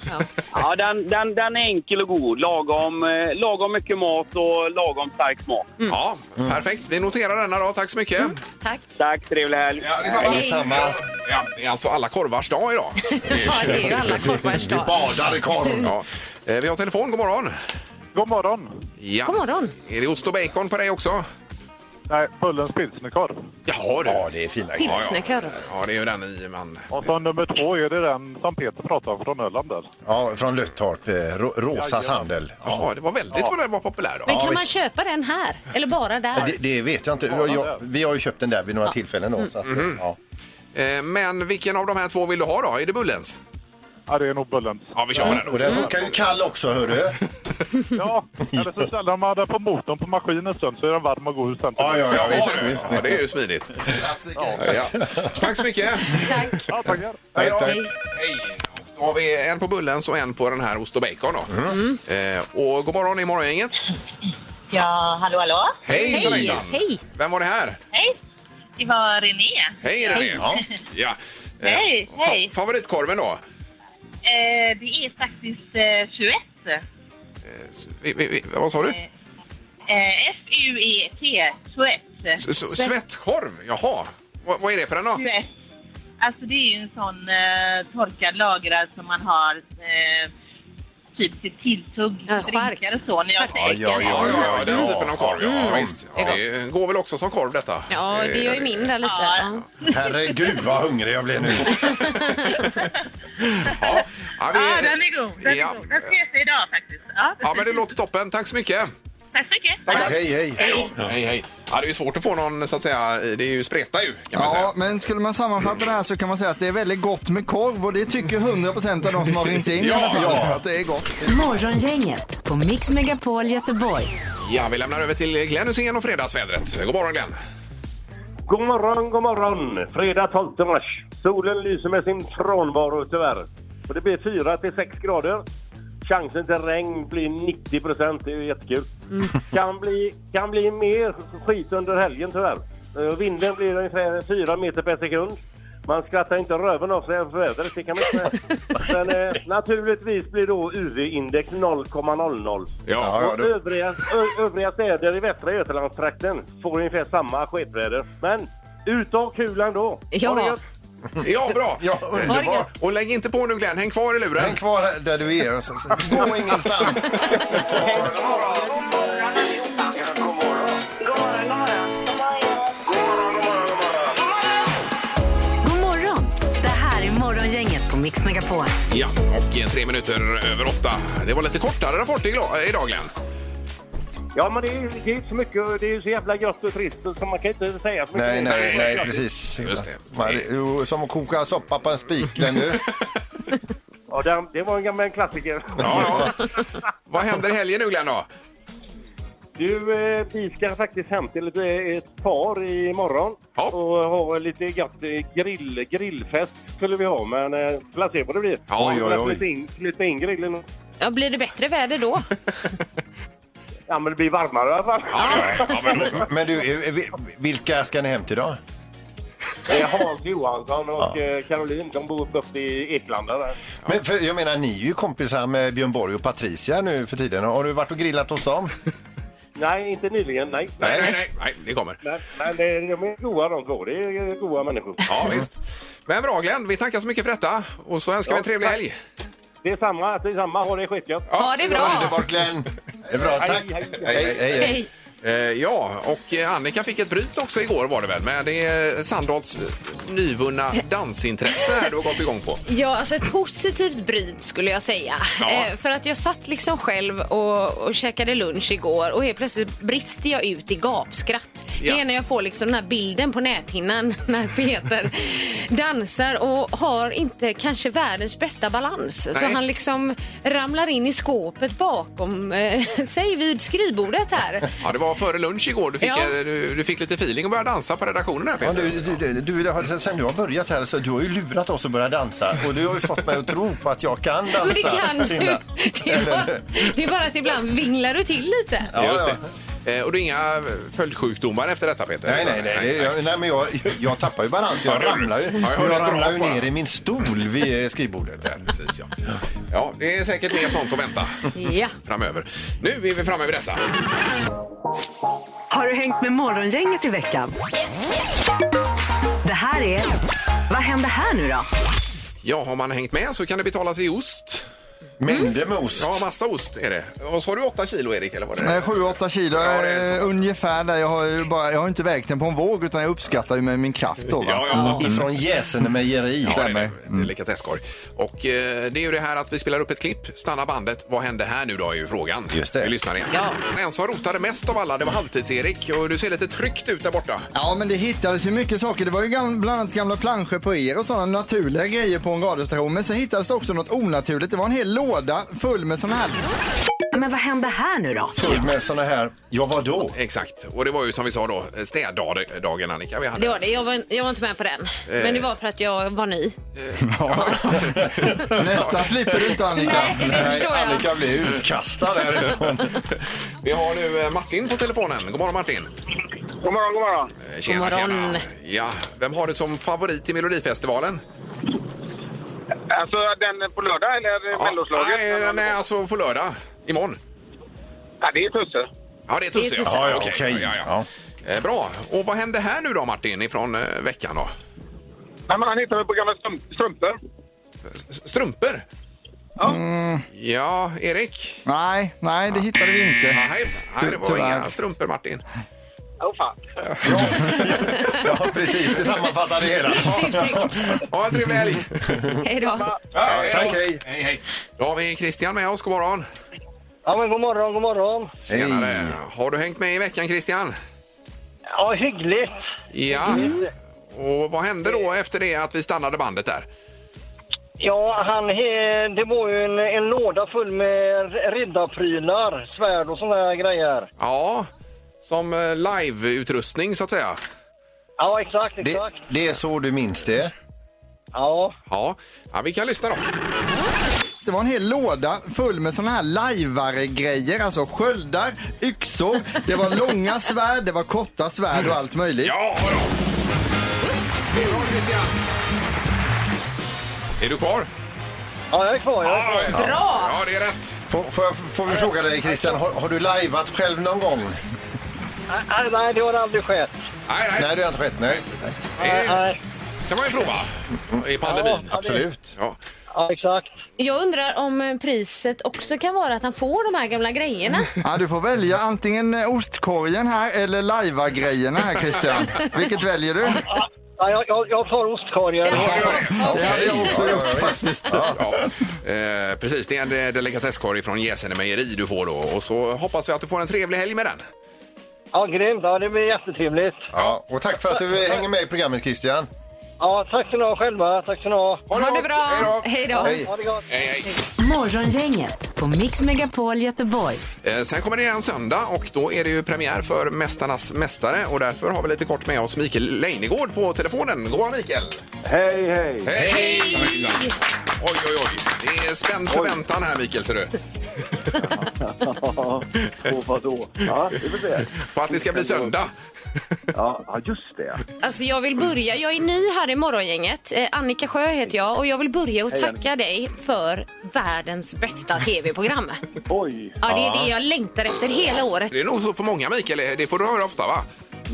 S9: Ja, den, den, den är enkel och god. Lagom, eh, lagom mycket mat och lagom stark smak.
S7: Mm.
S4: Ja, perfekt. Vi noterar denna då. Tack så mycket.
S7: Tack.
S9: Tack, trevlig helg.
S4: Ja, detsamma.
S5: Samma.
S4: Ja, det är alltså alla korvars dag idag.
S7: Ja, det är ju alla korvars dag.
S5: Badar i korv.
S4: Ja. Eh, Vi har telefon. God morgon.
S10: God morgon.
S4: Ja.
S7: God morgon.
S4: Är det ost och bacon på dig också?
S10: Nej, Pullens pilsnerkorv.
S4: Jaha, du.
S5: Ja, det är fina korv.
S7: Pilsnerkorv.
S4: Ja, det är ju den i man.
S10: Och så nummer två är det den som Peter pratade om från Öland där.
S5: Ja, från Löttorp. eh, Ro- Rosas handel.
S4: Ja, det var väldigt vad den var populär då.
S7: Men kan man
S5: visst.
S7: köpa den här? Eller bara
S5: Ja,
S7: där?
S5: Det, det vet jag inte. Jag, jag, vi har ju köpt den där vid några tillfällen. Då, så att, ja.
S4: Mm. Mm-hmm. Eh, Men vilken av de här två vill du ha då? Är det Bullens?
S10: Ja, det är nog Bullens.
S4: Ja, vi kör med den
S5: Och den funkar ju kall också, hör du.
S10: Ja, eller så ställer man den på motorn på maskinen en stund så är den varm och god sen.
S5: Ja, ja, ja, visst,
S4: Ja,
S5: visst.
S4: ja, det är ju smidigt. Ja. Tack så mycket.
S7: Tack.
S10: Ja, tackar.
S4: Hej då.
S5: Tack.
S4: Hej. Då har vi en på Bullens och en på den här ost och bacon. Då.
S7: Mm.
S4: Eh, och god morgon i morgongänget.
S11: Ja, hallå, hallå.
S4: Hej!
S7: Hej!
S4: Hejsan.
S7: Hej!
S4: Vem var det här?
S11: Hej. det var René.
S4: Hej René! Ja. ja. Eh,
S11: Hej,
S4: fa-
S11: hej.
S4: Favoritkorven då?
S11: Eh, det är faktiskt eh, Suet.
S4: Eh, Vi, vi, vi, vad sa du?
S11: Eh, F-U-E-T, Suet.
S4: S- s- Svettkorv? Jaha. Vad- vad är det för en då?
S11: Suet. Alltså det är ju en sån eh, torkad lagrad som man har eh, typ till tilltugg,
S7: Ja, chark.
S11: drinkar och så. När jag
S7: Chark. Ja,
S5: ja,
S4: Ja, ja, ja, den
S5: Mm.
S4: typen av korv. Ja, visst. Ja,
S7: Det
S4: det går väl också som korv detta?
S7: Ja,
S4: Eh,
S7: det gör ju min där lite. Ja.
S5: Herregud vad hungrig jag blev nu.
S4: Ja, ja, vi-
S11: Ja, den är god. Den
S4: Ja.
S11: är god. Den ska jag äta idag faktiskt. Ja.
S4: Ja, men det låter toppen. Tack så mycket.
S11: Tack så mycket.
S5: Tack, hej, hej.
S4: Hej, hej, hej. Ja, det är ju svårt att få någon, så att säga. Det är ju spreta ju, kan man
S6: Ja,
S4: säga.
S6: men skulle man sammanfatta det här så kan man säga att det är väldigt gott med korv och det tycker 100% av de som har ringt in i alla fall
S5: ja.
S6: att det är gott.
S3: Morgongänget på Mix Megapol Göteborg.
S4: Ja, vi lämnar över till Glenn Hysén och Fredagsvädret. God morgon, Glenn.
S12: God morgon, god morgon! Fredag 12 mars. Solen lyser med sin frånvaro tyvärr. Och det blir 4 till 6 grader. Chansen till regn blir 90 procent. Det är ju jättekul.
S13: Mm.
S12: Kan, bli, kan bli mer skit under helgen tyvärr. Eh, Vinden blir ungefär 4 meter per sekund. Man skrattar inte röven av sig för vädret, det kan man inte säga. Men eh, naturligtvis blir då UV-index 0,00.
S4: Ja,
S5: Ja,
S12: Och
S5: du-
S12: övriga, ö, övriga städer i Västra Götalandstrakten får ungefär samma sketväder. Men utav kulan då!
S7: Ja.
S12: Har ni gjort-
S4: ja bra.
S5: Ja, underbart.
S4: Och lägg inte på nu, Glenn. Häng kvar i luren.
S5: Häng kvar där du är. så- så- Gå ingenstans.
S3: God morgon! Det här är Morgongänget på Mix Megapol.
S4: Ja, och eh, tre minuter över åtta. Det var lite kortare rapport igla- idag, Glenn.
S12: Ja, men det är ju det är inte så mycket. Det är ju så jävla grått och trist så man kan inte säga så mycket.
S5: Nej, nej, nej, precis.
S4: Just det.
S5: Man- det är ju Som att koka soppa på en spik. Glenn, nu.
S12: Ja, det, det var en gammal klassiker.
S4: Ja, ja. Vad händer i helgen nu, Glenn? Då?
S12: Du, eh, vi ska faktiskt hem till ett, eh, ett par imorgon
S4: Ja.
S12: och ha lite gött eh, grill, grillfest skulle vi ha, men eh, får se vad det blir.
S4: Ja, oj,
S12: Vi får
S4: oj, oj.
S12: Flytta in, flytta in grillen.
S7: Ja, blir det bättre väder då?
S12: Ja, men det blir varmare i alla fall.
S4: Ja, ja, men då så.
S5: Men du, eh, vi- vilka ska ni hem till då?
S12: Det är Hans Johansson och
S5: Ja.
S12: eh, Caroline. De bor uppe i Eklanda där.
S5: Men för, jag menar, ni är ju kompisar med Björn Borg och Patricia nu för tiden. Har du varit och grillat hos dem?
S12: Nej, inte nyligen. Nej.
S4: Nej, nej, nej, nej, det kommer.
S12: Men, men det, de är goa de två. Det är goa människor.
S4: Ja, visst. Men bra, Glenn. Vi tackar så mycket för detta och så önskar vi en trevlig helg.
S12: Det är samma. Det är samma. Ha det skitgött.
S4: Ja,
S7: Ha det bra!
S5: Underbart, Glenn! Det är bra, tack!
S12: Hej, hej,
S5: Hej, hej, hej.
S7: Hej.
S4: Eh, ja, och eh, Annika fick ett bryt också igår var det väl, men det är Sandholts eh, nyvunna dansintresse här du har gått igång på.
S7: Ja, alltså ett positivt bryt skulle jag säga.
S4: Ja.
S7: Eh, för att jag satt liksom själv och, och käkade lunch igår och helt plötsligt brister jag ut i gapskratt.
S4: Ja.
S7: Det är när jag får liksom den här bilden på näthinnan när Peter dansar och har inte kanske världens bästa balans. Så
S4: Nej.
S7: han liksom ramlar in i skåpet bakom eh, sig vid skrivbordet här.
S4: Ja, det var före lunch igår. Du fick,
S7: Ja.
S4: eh, du, du fick lite feeling och började dansa på redaktionen här
S5: Ja,
S4: Peter.
S5: du, du, du, du, har- sen du har börjat här så du har ju lurat oss att börja dansa och du har ju fått mig att tro på att jag kan dansa.
S7: Men det kan du.
S5: Linda.
S7: Det är, bara, det är bara att ibland vinglar du till lite.
S5: Ja,
S4: Just
S5: ja.
S4: det. Eh, Och det är inga följdsjukdomar efter detta Peter?
S5: Nej, nej, nej. det- Jag, nej men jag, jag tappar ju balans. Jag ramlar ju,
S4: Ja, jag hörde
S5: jag
S4: ett
S5: ramlar ju
S4: brak bara.
S5: ner i min stol vid eh, skrivbordet. Där.
S4: Precis, ja. ja, det är säkert mer sånt att vänta
S7: Ja.
S4: framöver. Nu är vi framme vid detta.
S3: Har du hängt med Morgongänget i veckan? Det här är... Vad händer här nu då?
S4: Ja, har man hängt med så kan det betalas i ost.
S5: Mängdemos.
S4: Ja, massa ost är det. Och så har du åtta kilo Erik, eller vad det
S6: Nej,
S4: är?
S6: 7-8 kilo
S4: Ja, det är så.
S6: eh, ungefär där. Jag har, ju bara, jag har inte vägt den på en våg utan jag uppskattar ju med min kraft då. Va?
S4: Ja, ja.
S5: Ifrån Gäsene mejeri.
S4: Ja, det är
S6: Stämmer.
S4: det.
S5: Mm.
S4: Det är Delikatesskorg. Och eh, det är ju det här att vi spelar upp ett klipp, stanna bandet. Vad hände här nu då är ju frågan.
S5: Just det.
S4: Vi lyssnar igen.
S7: Ja.
S4: Den som rotade mest av alla, det var Halvtids-Erik. Och du ser lite tryckt ut där borta.
S6: Ja, men det hittades ju mycket saker. Det var ju gam- bland annat gamla planscher på er och sådana naturliga grejer på en radiostation. Men sen hittades det också något onaturligt. Det var en hel låda full med sådana här...
S3: Men vad händer här nu då?
S5: Full med såna här, ja vadå?
S4: Exakt. Och det var ju som vi sa då, städdagen Annika vi hade.
S7: Det var det. Jag var, jag var inte med på den.
S4: Eh.
S7: Men det var för att jag var ny.
S6: Nästan slipper du inte Annika.
S7: Nej, det förstår jag.
S5: Annika blir utkastad härifrån.
S4: Vi har nu eh, Martin på telefonen. God morgon Martin.
S1: God morgon, god morgon.
S4: Eh, Tjena,
S7: God morgon.
S4: tjena. Ja, vem har du som favorit i Melodifestivalen?
S1: Alltså den på lördag eller ja, melloslaget?
S4: nej, nej, nej, alltså på lördag. Imorgon.
S1: Ja, det är Tusse.
S4: Ja, det är Tusse.
S7: Det är Tusse.
S4: Ja,
S5: Ja,
S4: okej.
S5: okej.
S4: Ja, ja. Eh, Bra. Och vad hände här nu då, Martin, ifrån eh, veckan då?
S1: Nej, men han hittade mig på gamla strump- strumpor.
S4: S- Strumpor?
S1: Ja.
S4: Ja, Erik?
S6: Nej, nej, det hittade vi inte.
S4: Nej, nej, det var
S6: Tyvärr.
S4: inga strumpor, Martin.
S1: Åh fan.
S5: Ja, precis. Det sammanfattar det hela.
S7: Fint uttryckt.
S4: Ha en trevlig helg!
S7: Hej då.
S4: Ja,
S5: Tack, hej.
S4: hej, hej. Då har vi Christian med oss. God morgon.
S9: Ja, men god morgon, god morgon.
S4: Tjenare. Har du hängt med i veckan, Christian?
S9: Ja, hyggligt. Mm.
S4: Ja. Och vad hände då efter det att vi stannade bandet där?
S9: Ja, han, he- det var ju en, en låda full med r- riddarprylar, svärd och såna här grejer.
S4: Ja, som eh, live-utrustning så att säga.
S9: Ja, exakt,
S5: Det,
S9: exakt.
S5: det är så du minns det.
S9: Ja.
S4: Ja, ja vi kan lyssna då.
S6: Det var en hel låda full med såna här lajvare-grejer, alltså sköldar, yxor, det var långa svärd, det var korta svärd och allt möjligt.
S4: Ja då! Det är bra Christian! Är du kvar?
S9: ja, jag är kvar. Jag är kvar.
S4: Bra! Ja, det är rätt.
S5: Får, får, jag- får vi fråga dig, Christian, har, har du lajvat själv någon gång?
S9: Nej, nej, det har aldrig skett.
S4: Nej, nej.
S5: Nej, det har inte skett. Nej,
S4: Det är-
S9: Nej,
S4: kan man ju prova i pandemin.
S9: Ja,
S5: absolut.
S4: Ja.
S9: ja, exakt.
S7: Jag undrar om eh, priset också kan vara att han får de här gamla grejerna.
S4: Mm.
S6: Ja, du får välja antingen eh, ostkorgen här eller lajva-grejerna här Christian. Vilket väljer du?
S9: Ja, Ah, jag, jag, jag tar ostkorgen.
S6: Det hade jag också gjort faktiskt.
S4: Ja, eh, precis, det är en de- delikatesskorg från Gäsene mejeri du får då. Och så hoppas vi att du får en trevlig helg med den.
S9: Ja, grymt. Ja, det blir jättetrevligt.
S5: Ja, och tack för att du hänger med i programmet, Christian.
S9: Ja, tack ska ni ha själva. Tack ska ni ha.
S7: Ha det bra. Hej då.
S9: Ha det gott.
S4: Hej, hej.
S3: Morgongänget på Mix Megapol Göteborg.
S4: Eh, Sen kommer det en söndag och då är det ju premiär för Mästarnas mästare och därför har vi lite kort med oss Mikael Leijnegård på telefonen. God morgon Mikael!
S9: Hej, hej.
S4: Hej! Oj, oj, oj. Det är spänd förväntan här Mikael ser du.
S9: Och vadå? Ja, det blir det.
S4: På att det ska bli söndag.
S9: Ja, ja, just det.
S7: Alltså jag vill börja, jag är ny här i morgongänget. Eh, Annika Sjö heter jag och jag vill börja och tacka dig för världens bästa tv-program.
S9: Oj.
S7: Ja, det är det jag längtar efter hela året.
S4: Det är nog så för många Mikael, det får du höra ofta va?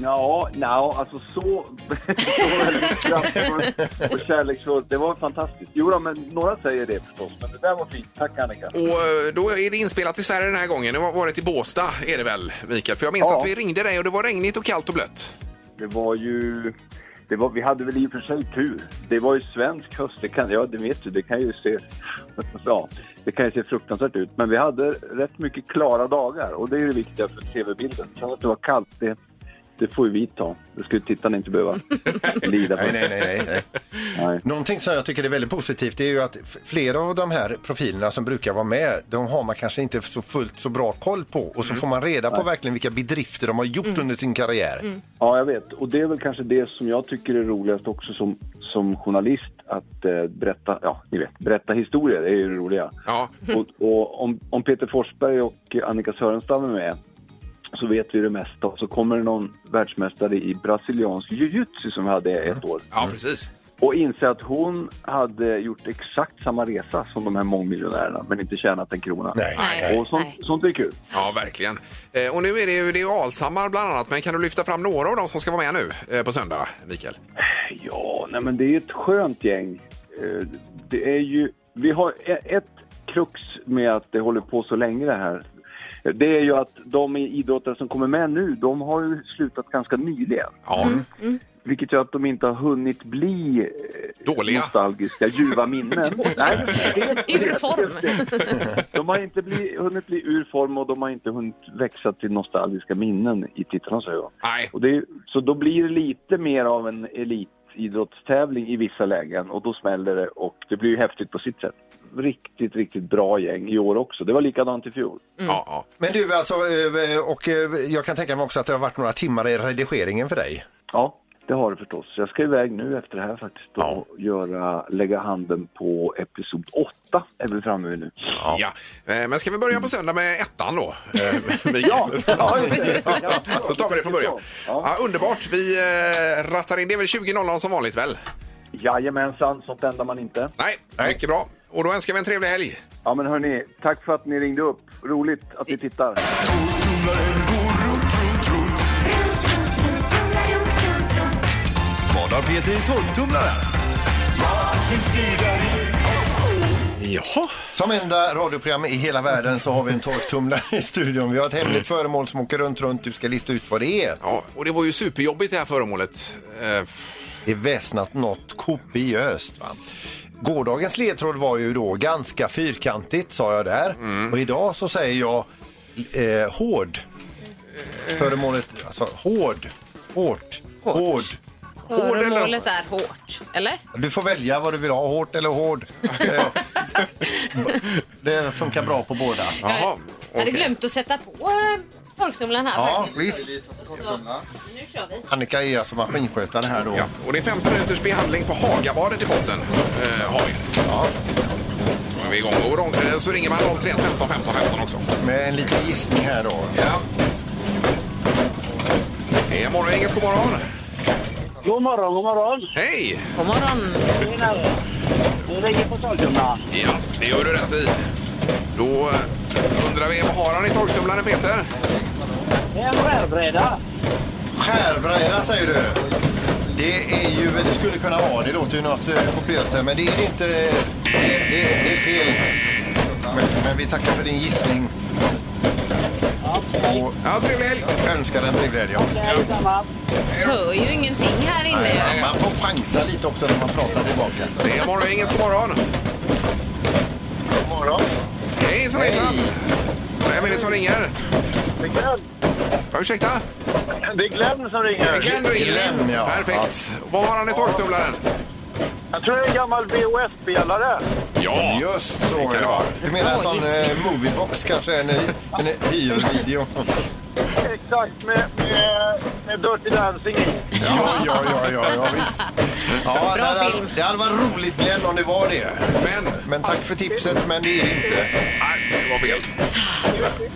S9: Ja, no, alltså så... så väldigt kraftfullt och kärleksfullt. Det var fantastiskt. Jo, då, men några säger det förstås. Men det där var fint. Tack, Annika.
S4: Och eh, då är det inspelat i Sverige den här gången. Det har varit i Båstad är det väl Mikael? För jag minns
S9: Ja.
S4: att vi ringde dig och det var regnigt och kallt och blött.
S9: Det var ju... Det var, vi hade väl i och för sig tur. Det var ju svensk höst, det kan, ja det vet du, det kan ju se, ja, det kan ju se fruktansvärt ut. Men vi hade rätt mycket klara dagar och det är ju det viktiga för tv-bilden. Sen att det var kallt, det, det får ju vi ta. Det skulle tittarna inte behöva lida för.
S5: Nej, nej, nej, nej. nej.
S9: Nej.
S5: Någonting som jag tycker är väldigt positivt det är ju att f- flera av de här profilerna som brukar vara med, de har man kanske inte så fullt så bra koll på och
S9: Mm.
S5: så får man reda på verkligen vilka bedrifter de har gjort under sin karriär.
S9: Ja, jag vet. Och det är väl kanske det som jag tycker är roligast också som, som journalist, att eh, berätta, ja, ni vet, berätta historier är ju det roliga.
S4: Ja,
S7: Mm.
S9: Och, och om, om Peter Forsberg och Annika Sörenstam är med så vet vi det mesta och så kommer det någon världsmästare i brasiliansk jiu-jitsu som vi hade ett år
S4: ja precis.
S9: och inser att hon hade gjort exakt samma resa som de här mångmiljonärerna men inte tjänat en krona.
S7: Nej,
S9: Och sånt,
S7: nej.
S9: sånt är kul.
S4: Ja, verkligen. Eh, och nu är det ju det är ju Alshammar bland annat, men kan du lyfta fram några av dem som ska vara med nu eh, på söndag, Mikael?
S9: Ja, nej men det är ett skönt gäng. Eh, Det är ju, vi har e- ett krux med att det håller på så länge det här. Det är ju att de idrottare som kommer med nu, de har ju slutat ganska nyligen.
S4: Ja, Mm.
S9: mm. Vilket gör att de inte har hunnit bli eh,
S4: Dåliga.
S9: nostalgiska, ljuva minnen. Nej, det är inte
S7: Ur
S9: det.
S7: form.
S9: De har inte bli, hunnit bli ur form och de har inte hunnit växa till nostalgiska minnen i tittarnas ögon.
S4: nej.
S9: Och det, är- så då blir det lite mer av en elitidrottstävling i vissa lägen och då smäller det och det blir ju häftigt på sitt sätt. Riktigt, riktigt bra gäng i år också. Det var likadant i fjol.
S4: Ja, ja.
S5: Men du, alltså, eh, och eh, jag kan tänka mig också att det har varit några timmar i redigeringen för dig.
S9: Ja,
S11: Det har det förstås. Jag ska iväg nu efter det här faktiskt och göra, lägga handen på episod 8 är vi framme vid nu.
S4: Ja. Eh, Men ska vi börja på söndag med ettan då? Eh,
S11: Ja, ja,
S4: Så tar vi det från början. Ja, underbart. Vi eh, rattar in. Det är väl 20.00 som vanligt väl?
S11: Jajamensan, sånt ändrar man inte.
S4: Nej, mycket bra. Och då önskar vi en trevlig helg.
S11: Ja men hörni, tack för att ni ringde upp. Roligt att ni tittar.
S14: Vad har Peter i torktumlaren?
S4: Jaha.
S5: Som enda radioprogram i hela världen så har vi en torktumlare i studion. Vi har ett hemligt föremål som åker runt, runt. Du ska lista ut vad det är.
S4: Ja, och det var ju superjobbigt det här föremålet. Eh,
S5: Det är väsnat något kopiöst. Va? Gårdagens ledtråd var ju då ganska fyrkantigt sa jag där.
S4: Mm.
S5: Och idag så säger jag eh, hård.
S4: Eh.
S5: Föremålet, alltså hård, hårt, hård.
S7: Föremålet är hårt, eller?
S5: Du får välja vad du vill ha, hårt eller hård. Eh, det funkar bra på båda.
S4: Jaha,
S7: Jag hade
S4: okej.
S7: glömt att sätta på eh, torktumlaren här
S5: Ja,
S7: faktiskt.
S5: visst.
S7: Så, nu kör vi.
S5: Annika är alltså maskinskötare här då.
S4: Ja, och det är 15 minuters behandling på Hagabadet i botten. Eh, har vi.
S5: Ja.
S4: Då är vi igång. Och då, eh, så ringer man 031 15 15 15 också.
S5: Med en liten gissning här då.
S4: Ja. Hej, morgon, inget god morgon.
S11: God morgon, god morgon.
S4: Hej!
S7: God morgon.
S11: Tjenare. Du ringer på Solkumla.
S4: Ja, det gör du rätt i. Då eh, undrar vi, vad har han i torktumlaren Peter?
S11: Det är en skärbräda.
S5: Skärbräda säger du. Det är ju, det skulle kunna vara, det låter ju något eh, kopiöst här, men det är det inte. Det är, det är fel. Men, men vi tackar för din gissning och
S4: Ja, trevlig helg!
S5: önskar en trevlig helg. ja.
S7: Hör ju ingenting här inne. ju.
S5: Man får chansa lite också när man pratar tillbaka.
S4: Det är morgon, inget god morgon.
S11: God morgon.
S4: Hejsan, hejsan! Vem är det som ringer?
S11: Det är Glenn.
S4: Ja, Ursäkta?
S11: Det är Glenn som ringer.
S4: Glenn ringer.
S5: Glenn, ja.
S4: Perfekt. Vad har han i torktumlaren?
S11: Jag tror det är en gammal VHS-spelare.
S4: Ja!
S5: Just så
S4: kan det
S5: ja.
S4: vara.
S5: Du menar en
S7: Bra
S5: sån eh, moviebox kanske, en, en hyrvideo?
S11: Exakt, med, med, med Dirty Dancing i.
S5: Ja, ja, ja, ja, ja visst. Ja,
S7: Bra
S5: det hade-
S7: film.
S5: Det hade varit roligt Glenn om det var det.
S4: Men...
S5: Men tack för tipset, men det är det inte.
S4: Nej, det var fel.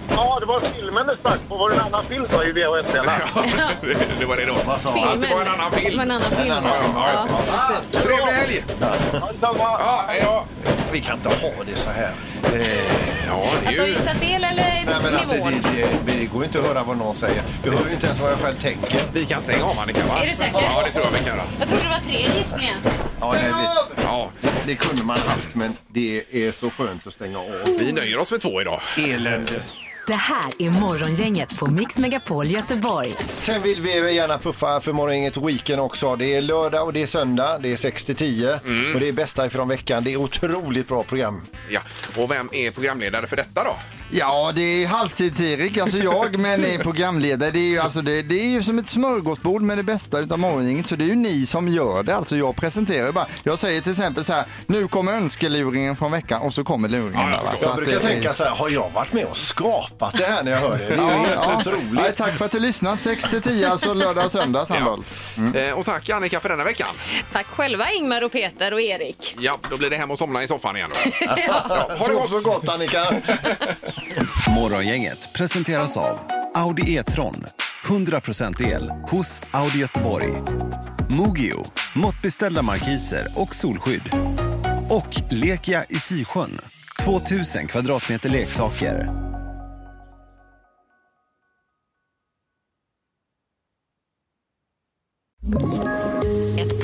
S11: Ja, det var filmen det stack på. Var det en annan film då i VHS-spelaren?
S4: Ja, det- det var det då. Att det var en annan
S7: Det
S4: film.
S7: var en annan film.
S5: annan film, ja, just det.
S4: Trevlig helg!
S11: Ja, detsamma.
S4: Ja, hej då!
S5: Vi kan inte ha det så här.
S4: Ja, det
S7: Att
S4: är
S7: de
S4: ju...
S7: gissar fel eller
S5: Nej, men att det,
S7: nivån?
S5: det, det, det går inte att höra vad någon säger. Jag hör ju inte ens vad jag själv tänker.
S4: Vi kan stänga av Annika, va?
S7: Är du säker?
S4: Ja, det tror jag vi kan göra.
S7: Jag trodde det var tre gissningar.
S5: Ja, nej, det,
S4: Ja,
S5: det kunde man haft, men det är så skönt att stänga av.
S4: vi nöjer oss med två idag.
S5: Elände.
S3: Det här är Morgongänget på Mix Megapol Göteborg.
S5: Sen vill vi gärna puffa för morgongänget Weekend också. Det är lördag och det är söndag. Det är 6 till 10 och det är bästa ifrån veckan. Det är otroligt bra program.
S4: Ja. Och vem är programledare för detta då?
S6: Ja, det är halvtids-Erik, alltså jag, men är programledare. Det är, ju, alltså, det, det är ju som ett smörgåsbord med det bästa utav morgongänget. Så det är ju ni som gör det. Alltså jag presenterar ju bara. Jag säger till exempel så här, nu kommer önskeluringen från veckan och så kommer luringen.
S4: Ja, jag
S6: där, va?
S4: förstår.
S6: Så
S5: Jag
S6: att
S5: brukar
S6: det är-
S5: tänka så här, har jag varit med och skapat det här när jag hör det? Det är ju
S6: Ja,
S5: helt
S6: ja.
S5: otroligt.
S6: Nej, tack för att du lyssnar. 6 till 10, alltså lördag och söndag Sandholt.
S5: Mm.
S4: Eh, Och tack Annika för denna veckan.
S7: Tack själva Ingmar och Peter och Erik.
S4: Ja, då blir det hem och somna i soffan igen. Då.
S5: Ha det så gott Annika!
S14: Morgongänget presenteras av Audi E-tron. 100% el hos Audi Göteborg. Mogio, måttbeställda markiser och solskydd. Och Lekia i Sisjön, 2000 kvadratmeter leksaker.
S3: Ett